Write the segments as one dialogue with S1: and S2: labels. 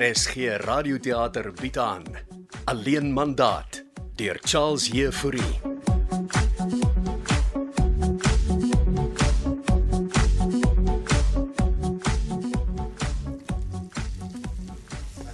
S1: RSG Radioteater bied aan Alleen mandaat deur Charles Jefouri.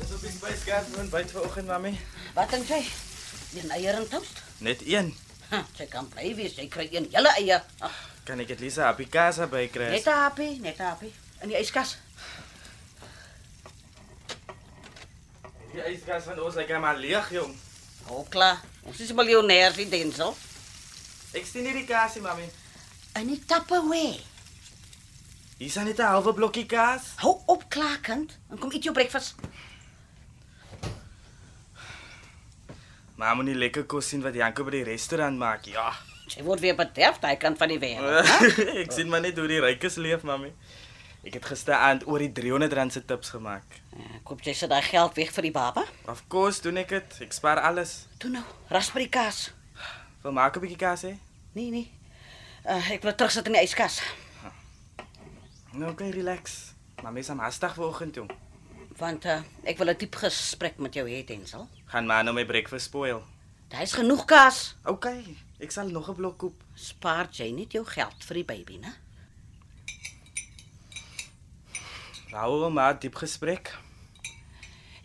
S2: Dis op die spyskas en byt vanoggend, mami.
S3: Wat dink jy? Een eier en toast?
S2: Net een.
S3: Ha, Jy kan bly wees, jy kry een hele eier. Ag,
S2: Kan ek dit Lisa op die kassa bykry?
S3: Net 'n happie, net 'n happie in die yskas.
S2: Die yskas van ons lyk maar leeg, jong.
S3: Al klaar. Ons is miljonêers in Denzel.
S2: Ek sien nie die kasie, mami.
S3: In die Tupperware.
S2: Hier's net 'n halwe blokkie kaas.
S3: Hou op klakend en kom eet jou breakfast.
S2: Maar moenie lekker kos sien wat Janko by die restaurant maak, ja.
S3: Jy word weer bederf daai kant van die wêreld.
S2: ek sien maar net hoe die rykes leef, mami. Ek het gisteraand oor die 300 rand se tips gemaak.
S3: Ja, koop jy se daai geld weg vir die baba?
S2: Of course doen ek dit. Ek spaar alles.
S3: Toe nou, raspberry kaas.
S2: Wil maak 'n bietjie kaas hê?
S3: Nee, nee. Uh, ek wil terugsit in die yskas.
S2: Nou okay, relax. Mami is aan hastig vanoggend, jong.
S3: Want uh, ek wil 'n diep gesprek met jou hê, Denzel.
S2: Gaan maar nou my breakfast spoil.
S3: Daar's genoeg kaas.
S2: Okay, ek sal nog 'n blok koop.
S3: Spaar jy net jou geld vir die baby, né?
S2: Rauwe maar diep gesprek.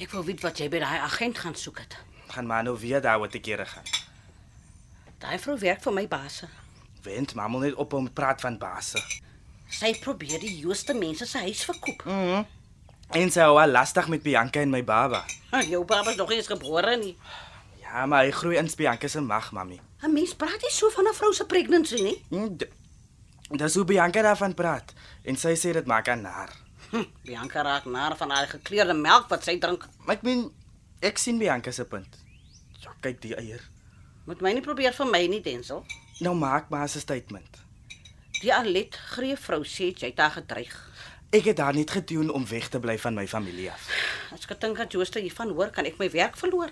S3: Ek wil weet wat jy by daai agent gaan soek het.
S2: Gaan maar nou weer daar wat ek kere gaan.
S3: Daai vrou werk vir my baas.
S2: Wend maar moet net op om praat van basse.
S3: Sy probeer die jooste mense se huis verkoop.
S2: Mhm. Mm en sy hou al lastig met Bianca en my baba.
S3: Ha, Ah, jou pappa is nog nie eens gebore nie.
S2: Ja, maar hy groei in Bianca se mag, mami.
S3: 'n Mens praat nie so van 'n vrou se pregnancy nie.
S2: Mm, d- Dis hoe Bianca daarvan praat en sy sê dit maak aan haar.
S3: Hm, Bianca raak naar van haar gekleurde melk wat sy drink.
S2: Maar ek meen, ek sien Bianca se punt. Ja, kyk die eier.
S3: Moet my nie probeer vir my nie, Denzel.
S2: Nou maak maar 'n statement.
S3: Die Alet greef vrou sê jy het haar gedreig.
S2: Ek het daar net gedoen om weg te bly van my familie af.
S3: As ek dink dat Jooste hiervan hoor, kan ek my werk verloor.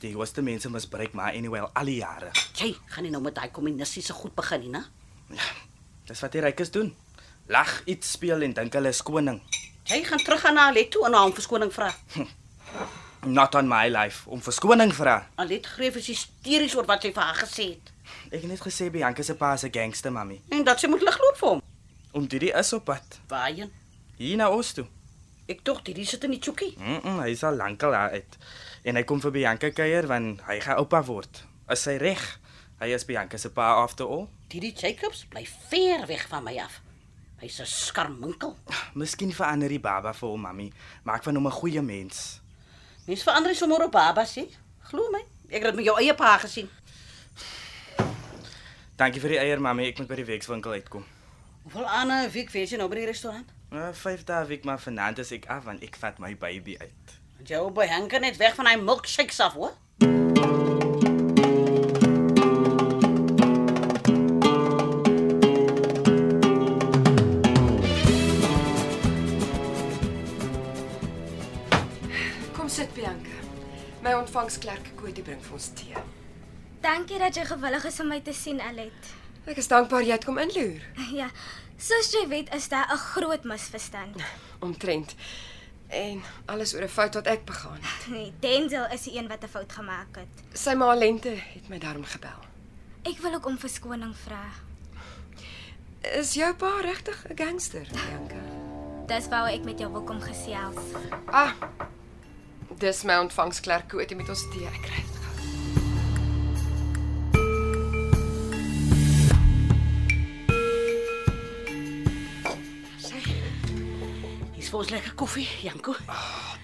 S2: Die hoogste mense misbruik maar anyway al die jare.
S3: Jy gaan nie nou met daai kommunistiese goed begin nie, né?
S2: Ja, dis wat die rykes doen. Lag iets speel en dink hulle is koning.
S3: Jy gaan terug aan Alet toe en haar om verskoning vra.
S2: Not on my life om verskoning vra.
S3: Alet greef is hysteries oor wat sy vir haar gesê het.
S2: Ek het net gesê Bianca se pa is 'n gangster, mami.
S3: En dat sy moet ligloop vir hom.
S2: Om dit is op pad
S3: Waarheen?
S2: hier na Oos toe.
S3: Ek dink hierdie sit in die chokkie.
S2: Mm, -mm hy is al lankal daar uit. En hy kom vir Bianca kuier want hy gaan oupa word. Is hy reg? Hy is Bianca se pa after all.
S3: Hierdie Jacobs bly ver weg van my af. Hy's 'n skarminkel.
S2: Miskien verander die baba vir hom, mami. Maak van hom 'n goeie mens.
S3: Mens verander nie sommer op baba sê. Glo my, ek het dit met jou eie pa gesien.
S2: Dankie vir die eier, mami. Ek moet by die wekswinkel uitkom.
S3: Hoeveel ander week weet jy nou by die restaurant?
S2: Uh, vyf dae week maar vanaand is ek af want ek vat my baby uit.
S3: Want jy hou by hanker net weg van hy milkshakes af, hoor.
S4: Kom sit Bianca. My ontvangsklerk Koti bring vir ons tee.
S5: Dankie dat jy gewillig is om my te sien, Alet.
S4: Ek is dankbaar jy het kom inloer.
S5: Ja, soos jy weet, is daar 'n groot misverstand.
S4: Omtrent. En alles oor 'n fout wat ek begaan het.
S5: Nee, Denzel is die een wat 'n fout gemaak het.
S4: Sy ma Lente het my daarom gebel.
S5: Ek wil ook om verskoning vra.
S4: Is jou pa regtig 'n gangster, Bianca?
S5: Dis wou ek met jou wil kom gesels.
S4: Ah. Dis my ontvangsklerk Koti met ons tee. Ek kry dit gou.
S3: Sê. Hier's vir ons lekker koffie, Janko.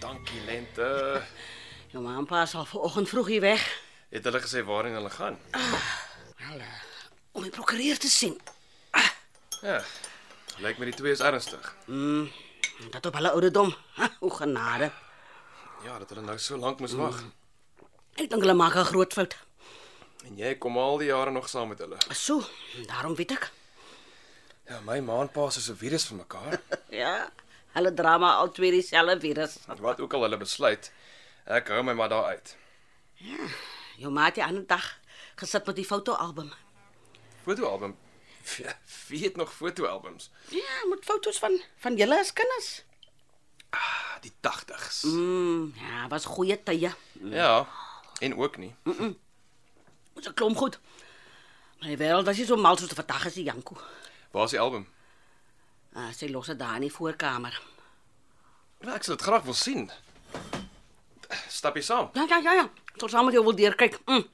S6: Dankie Lente.
S3: Jou ma en pa is al vanoggend vroeg hier weg.
S6: Het hulle gesê waarheen hulle gaan?
S3: Wel, eh, om die prokureur te sien.
S6: Ja. Lyk my die twee is ernstig.
S3: Dat op hulle ouderdom. Ha, o genade.
S6: Ja, dat hulle nou so lank moes wag.
S3: Ek dink hulle maak 'n groot fout.
S6: En jy kom al die jare nog saam met hulle.
S3: So, daarom weet ek.
S6: Ja, my ma en pa is so 'n virus van mekaar.
S3: Ja, hulle dra maar al twee dieselfde virus.
S6: Wat ook al hulle besluit, ek hou my maar daar uit.
S3: Jou ma het die ander dag gesit met die fotoalbum.
S6: Fotoalbum. Wie het nog fotoalbums?
S3: Ja, met foto's van van julle as kinders.
S6: Ah, die 80s.
S3: Mm, ja, was goeie tye.
S6: Ja. En ook nie.
S3: Ons 'n klomp goed. Maar die wêreld was nie so mal soos vandag as die Janko.
S6: Waar is die album?
S3: Ah, sy los dit daar in die voorkamer.
S6: Ja, ek sal dit graag wil sien. Stap jy saam?
S3: Ja, ja, ja, ja. Tot saam met jou wil deurkyk. Mm.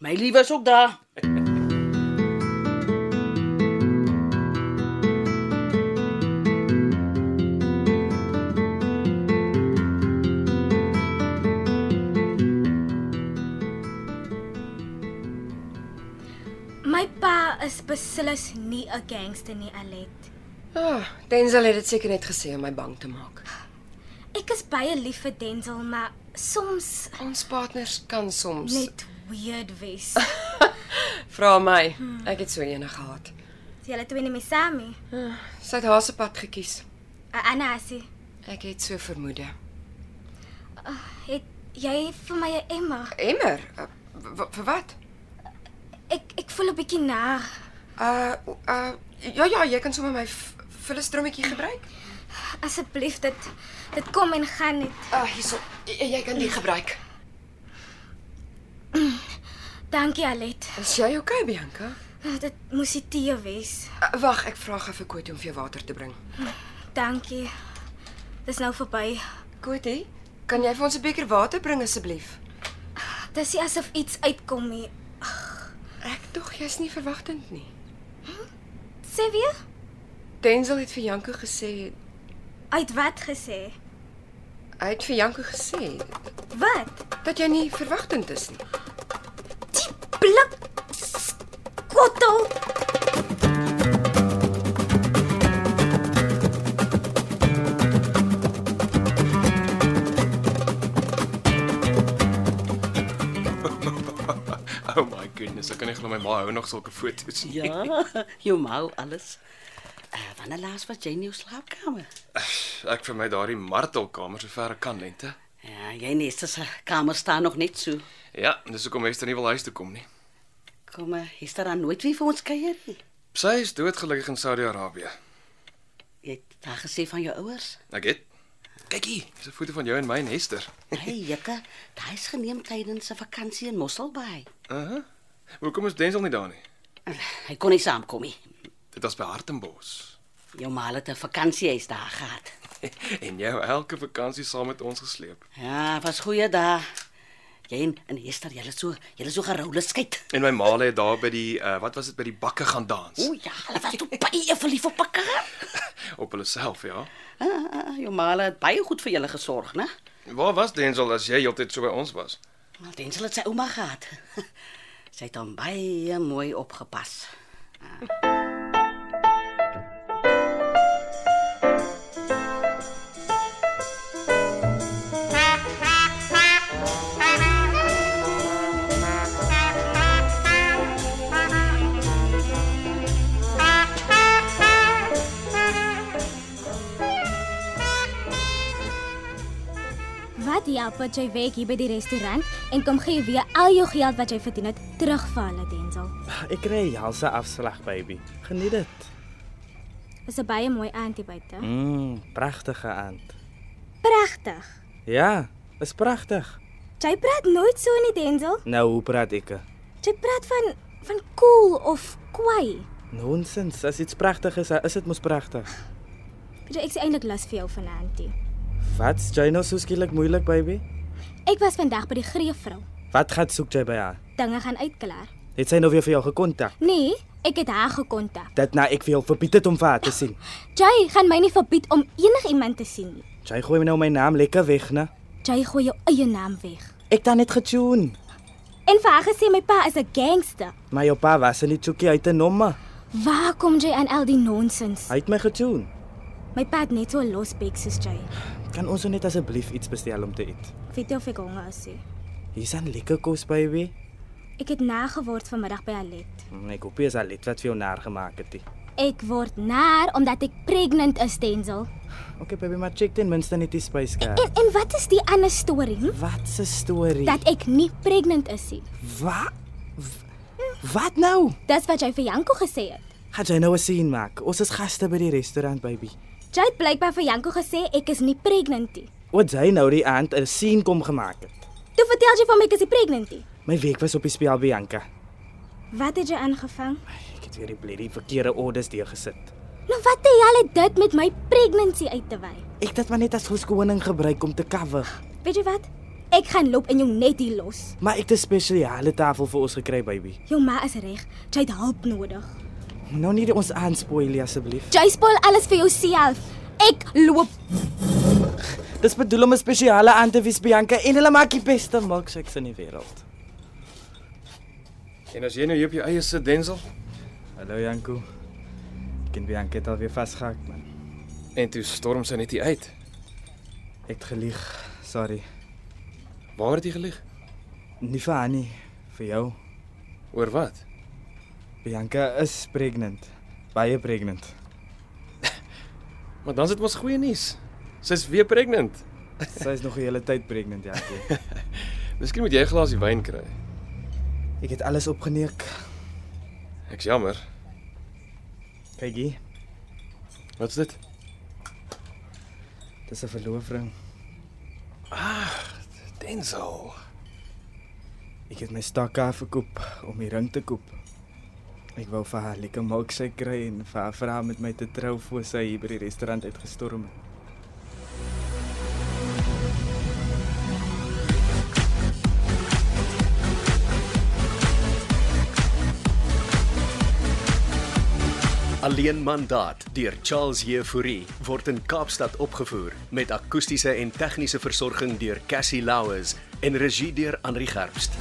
S3: My liewe is ook daar.
S5: My pa is beslis nie 'n gangster nie, Alet.
S4: Ah, Denzel het dit seker net gesê om my bang te maak.
S5: Ek is baie lief vir Denzel, maar soms
S4: Ons partners kan soms
S5: net weird wees.
S4: vra my. Ek het so eene gehad.
S5: Is Julle twee nie meer saam nie.
S4: Sy het haar se pad gekies.
S5: 'n Anna asie.
S4: Ek het so vermoede.
S5: Het jy vir my 'n emmer?
S4: Emmer, uh, w- vir wat?
S5: Ek ek voel 'n bietjie naar.
S4: Uh uh ja ja, jy kan sommer my v- vulle strommetjie gebruik.
S5: Asseblief, dit dit kom en gaan net.
S4: Ah, hierso. Jy, jy kan die gebruik.
S5: Dankie, Alet.
S4: Is jy okay, Bianca?
S5: Dit moes die tee wees.
S4: Uh, Wag, ek vra gou vir Koet om vir jou water te bring.
S5: Dankie. Dis nou verby.
S4: Koetie, kan jy vir ons 'n beker water bring asseblief?
S5: Dis nie asof iets uitkom nie.
S4: Ek tog jy's nie verwagtend nie.
S5: Sê weer?
S4: Denzel het vir Janko gesê,
S5: Uit wat gesê?
S4: hy het vir Janko gesê
S5: Wat?
S4: dat jy nie verwagtend is nie.
S5: Die blik skottel.
S6: Oh my goodness, ek kan nie glo my ma hou nog sulke foto's nie.
S3: Ja, jou ma alles. Uh, wanneer laas was jy in jou slaapkamer?
S6: Ek vermy daardie martelkamer so ver ek kan lente.
S3: Ja, jy nee, se kamer staan nog net so.
S6: Ja, dis hoekom Esther nie wil huis toe kom nie.
S3: Kom, eh, is daar dan nooit weer vir ons kuier nie?
S6: Sy is doodgelukkig in Saudi-Arabië.
S3: Jy het daar gesê van jou ouers.
S6: Ek het Kyk hier, dis 'n foto van jou en my en Esther.
S3: Hey, Jekke, daai is geneem tydens 'n vakansie in Mosselbaai.
S6: Aha. Uh -huh. Hoekom is Denzel nie daar nie?
S3: En Hy kon nie saamkom nie.
S6: Dit was by Hartenbos.
S3: Jou ma het 'n vakansiehuis daar gehad.
S6: en jy het elke vakansie saam met ons gesleep.
S3: Ja, was goeie dae. Jy en, en Esther, julle so, julle so geroule skeit.
S6: En my ma het daar by die uh, wat was dit by die bakke gaan dans
S3: O ja, hulle was toe baie verlief op mekaar.
S6: op hulle self, ja.
S3: Ah, ah, jou ma het baie goed vir julle gesorg, né?
S6: Waar was Denzel as jy heeltyd so by ons was?
S3: Nou, Denzel het sy ouma gehad. Sy het hom baie mooi opgepas.
S5: Wat help dat jy werk hier by die restaurant en kom gee weer al jou geld wat jy verdien het terug vir hulle Denzel.
S2: Ek kry helse afslag, baby. Geniet dit.
S5: Dis 'n baie mooi aandie buite.
S2: Mm, pragtige aand.
S5: Pragtig.
S2: Ja, is pragtig.
S5: Jy praat nooit so nie Denzel.
S2: Nou hoe praat ek?
S5: Jy praat van van cool of kwai.
S2: Nonsens. As iets pragtig is, is dit mos pragtig.
S5: Weet jy ek is eintlik lus vir jou vanaand. Auntie.
S2: Wat is jy nou so skielik moeilik, baby?
S5: Ek was vandag by die greefvrou.
S2: Wat gaan soek jy by haar?
S5: Dinge gaan uitklaar.
S2: Het sy nou weer vir jou gekontak?
S5: Nee, ek het haar gekontak.
S2: Dit nou ek vir jou verbied het om vir haar te sien.
S5: Jy gaan my nie verbied om enigiemand te sien nie.
S2: Jy gooi nou my naam lekker weg, né?
S5: Jy gooi jou eie naam weg.
S2: Ek dan net getune.
S5: En vir haar gesê my pa is 'n gangster.
S2: Maar jou pa was in die chookie uit 'n nommer.
S5: Waar kom jy aan al die nonsens?
S2: Hy het my getune.
S5: My pa het net so 'n losbek soos jy.
S2: Kan ons nou net asseblief iets bestel om te eet?
S5: Ek weet nie of ek honger is nie.
S2: Hier's 'n lekker kos, baby.
S5: Ek het nageword vanmiddag by Alet.
S2: Mm, Ek hoop jy is al net wat vir jou naar gemaak het. die.
S5: Ek word naar omdat ek pregnant is, Denzel.
S2: Okay, baby, maar check ten minste net die spyskaart.
S5: En en wat is die ander storie? Hm?
S2: Wat 'n storie.
S5: Dat ek nie pregnant is nie.
S2: Wat? Wat nou?
S5: Dis wat jy vir Janko gesê het.
S2: Gaan jy nou 'n scene maak? Ons is gaste by die restaurant, baby.
S5: Jy het blykbaar vir Janko gesê ek is nie pregnant nie.
S2: Wat sy nou die aand 'n scene kom gemaak het.
S5: Toe vertel jy vir my ek is nie pregnant nie.
S2: My week was op die spel Bianca.
S5: Wat het jy aangevang?
S2: Ek het weer die bloody verkeerde orders deurgesit.
S5: Nou wat het jy al dit met my pregnancy uit te wy?
S2: Ek het dit maar net as verskoning gebruik om te cover.
S5: Weet jy wat? Ek gaan loop en jou net hier los.
S2: Maar ek het 'n spesiale tafel vir ons gekry, baby.
S5: Jou ma is reg. Jy het hulp nodig.
S2: Moet nou nie ons aanspoil asseblief.
S5: Jy spoil alles vir jouself. Ek loop.
S2: Dis bedoel om 'n spesiale aand te wees Bianca en hulle maak die beste milkshakes in die wêreld.
S6: En as jy nou hier op jou eie sit, Denzel,
S2: Hallo Janko. Ek en Bianca het alweer vasgehak man.
S6: en toe storm sy net hier uit.
S2: Ek het gelieg. Sorry.
S6: Waar het jy gelieg?
S2: Nie vir haar nie, vir jou.
S6: Oor wat?
S2: Bianca is pregnant. Baie pregnant.
S6: Maar dan is dit mos goeie nuus. Sy's weer pregnant.
S2: Sy is nog 'n hele tyd pregnant, Janko.
S6: Miskien moet jy 'n glasie wyn kry.
S2: Ek het alles opgeneek.
S6: Ek's jammer.
S2: Kyk hier,
S6: Wat's dit?
S2: dis 'n verloofring.
S6: Denzel.
S2: Ek het my stakka verkoop om die ring te koop. Ek wou vir haar lekker milkshake kry en vir haar vra om met my te trou voor sy hier by die restaurant uitgestorm het.
S1: Alleen Mandaat deur Charles Jefouri word in Kaapstad opgevoer met akoestiese en tegniese versorging deur Cassie Louws en regie deur Henri Gerst.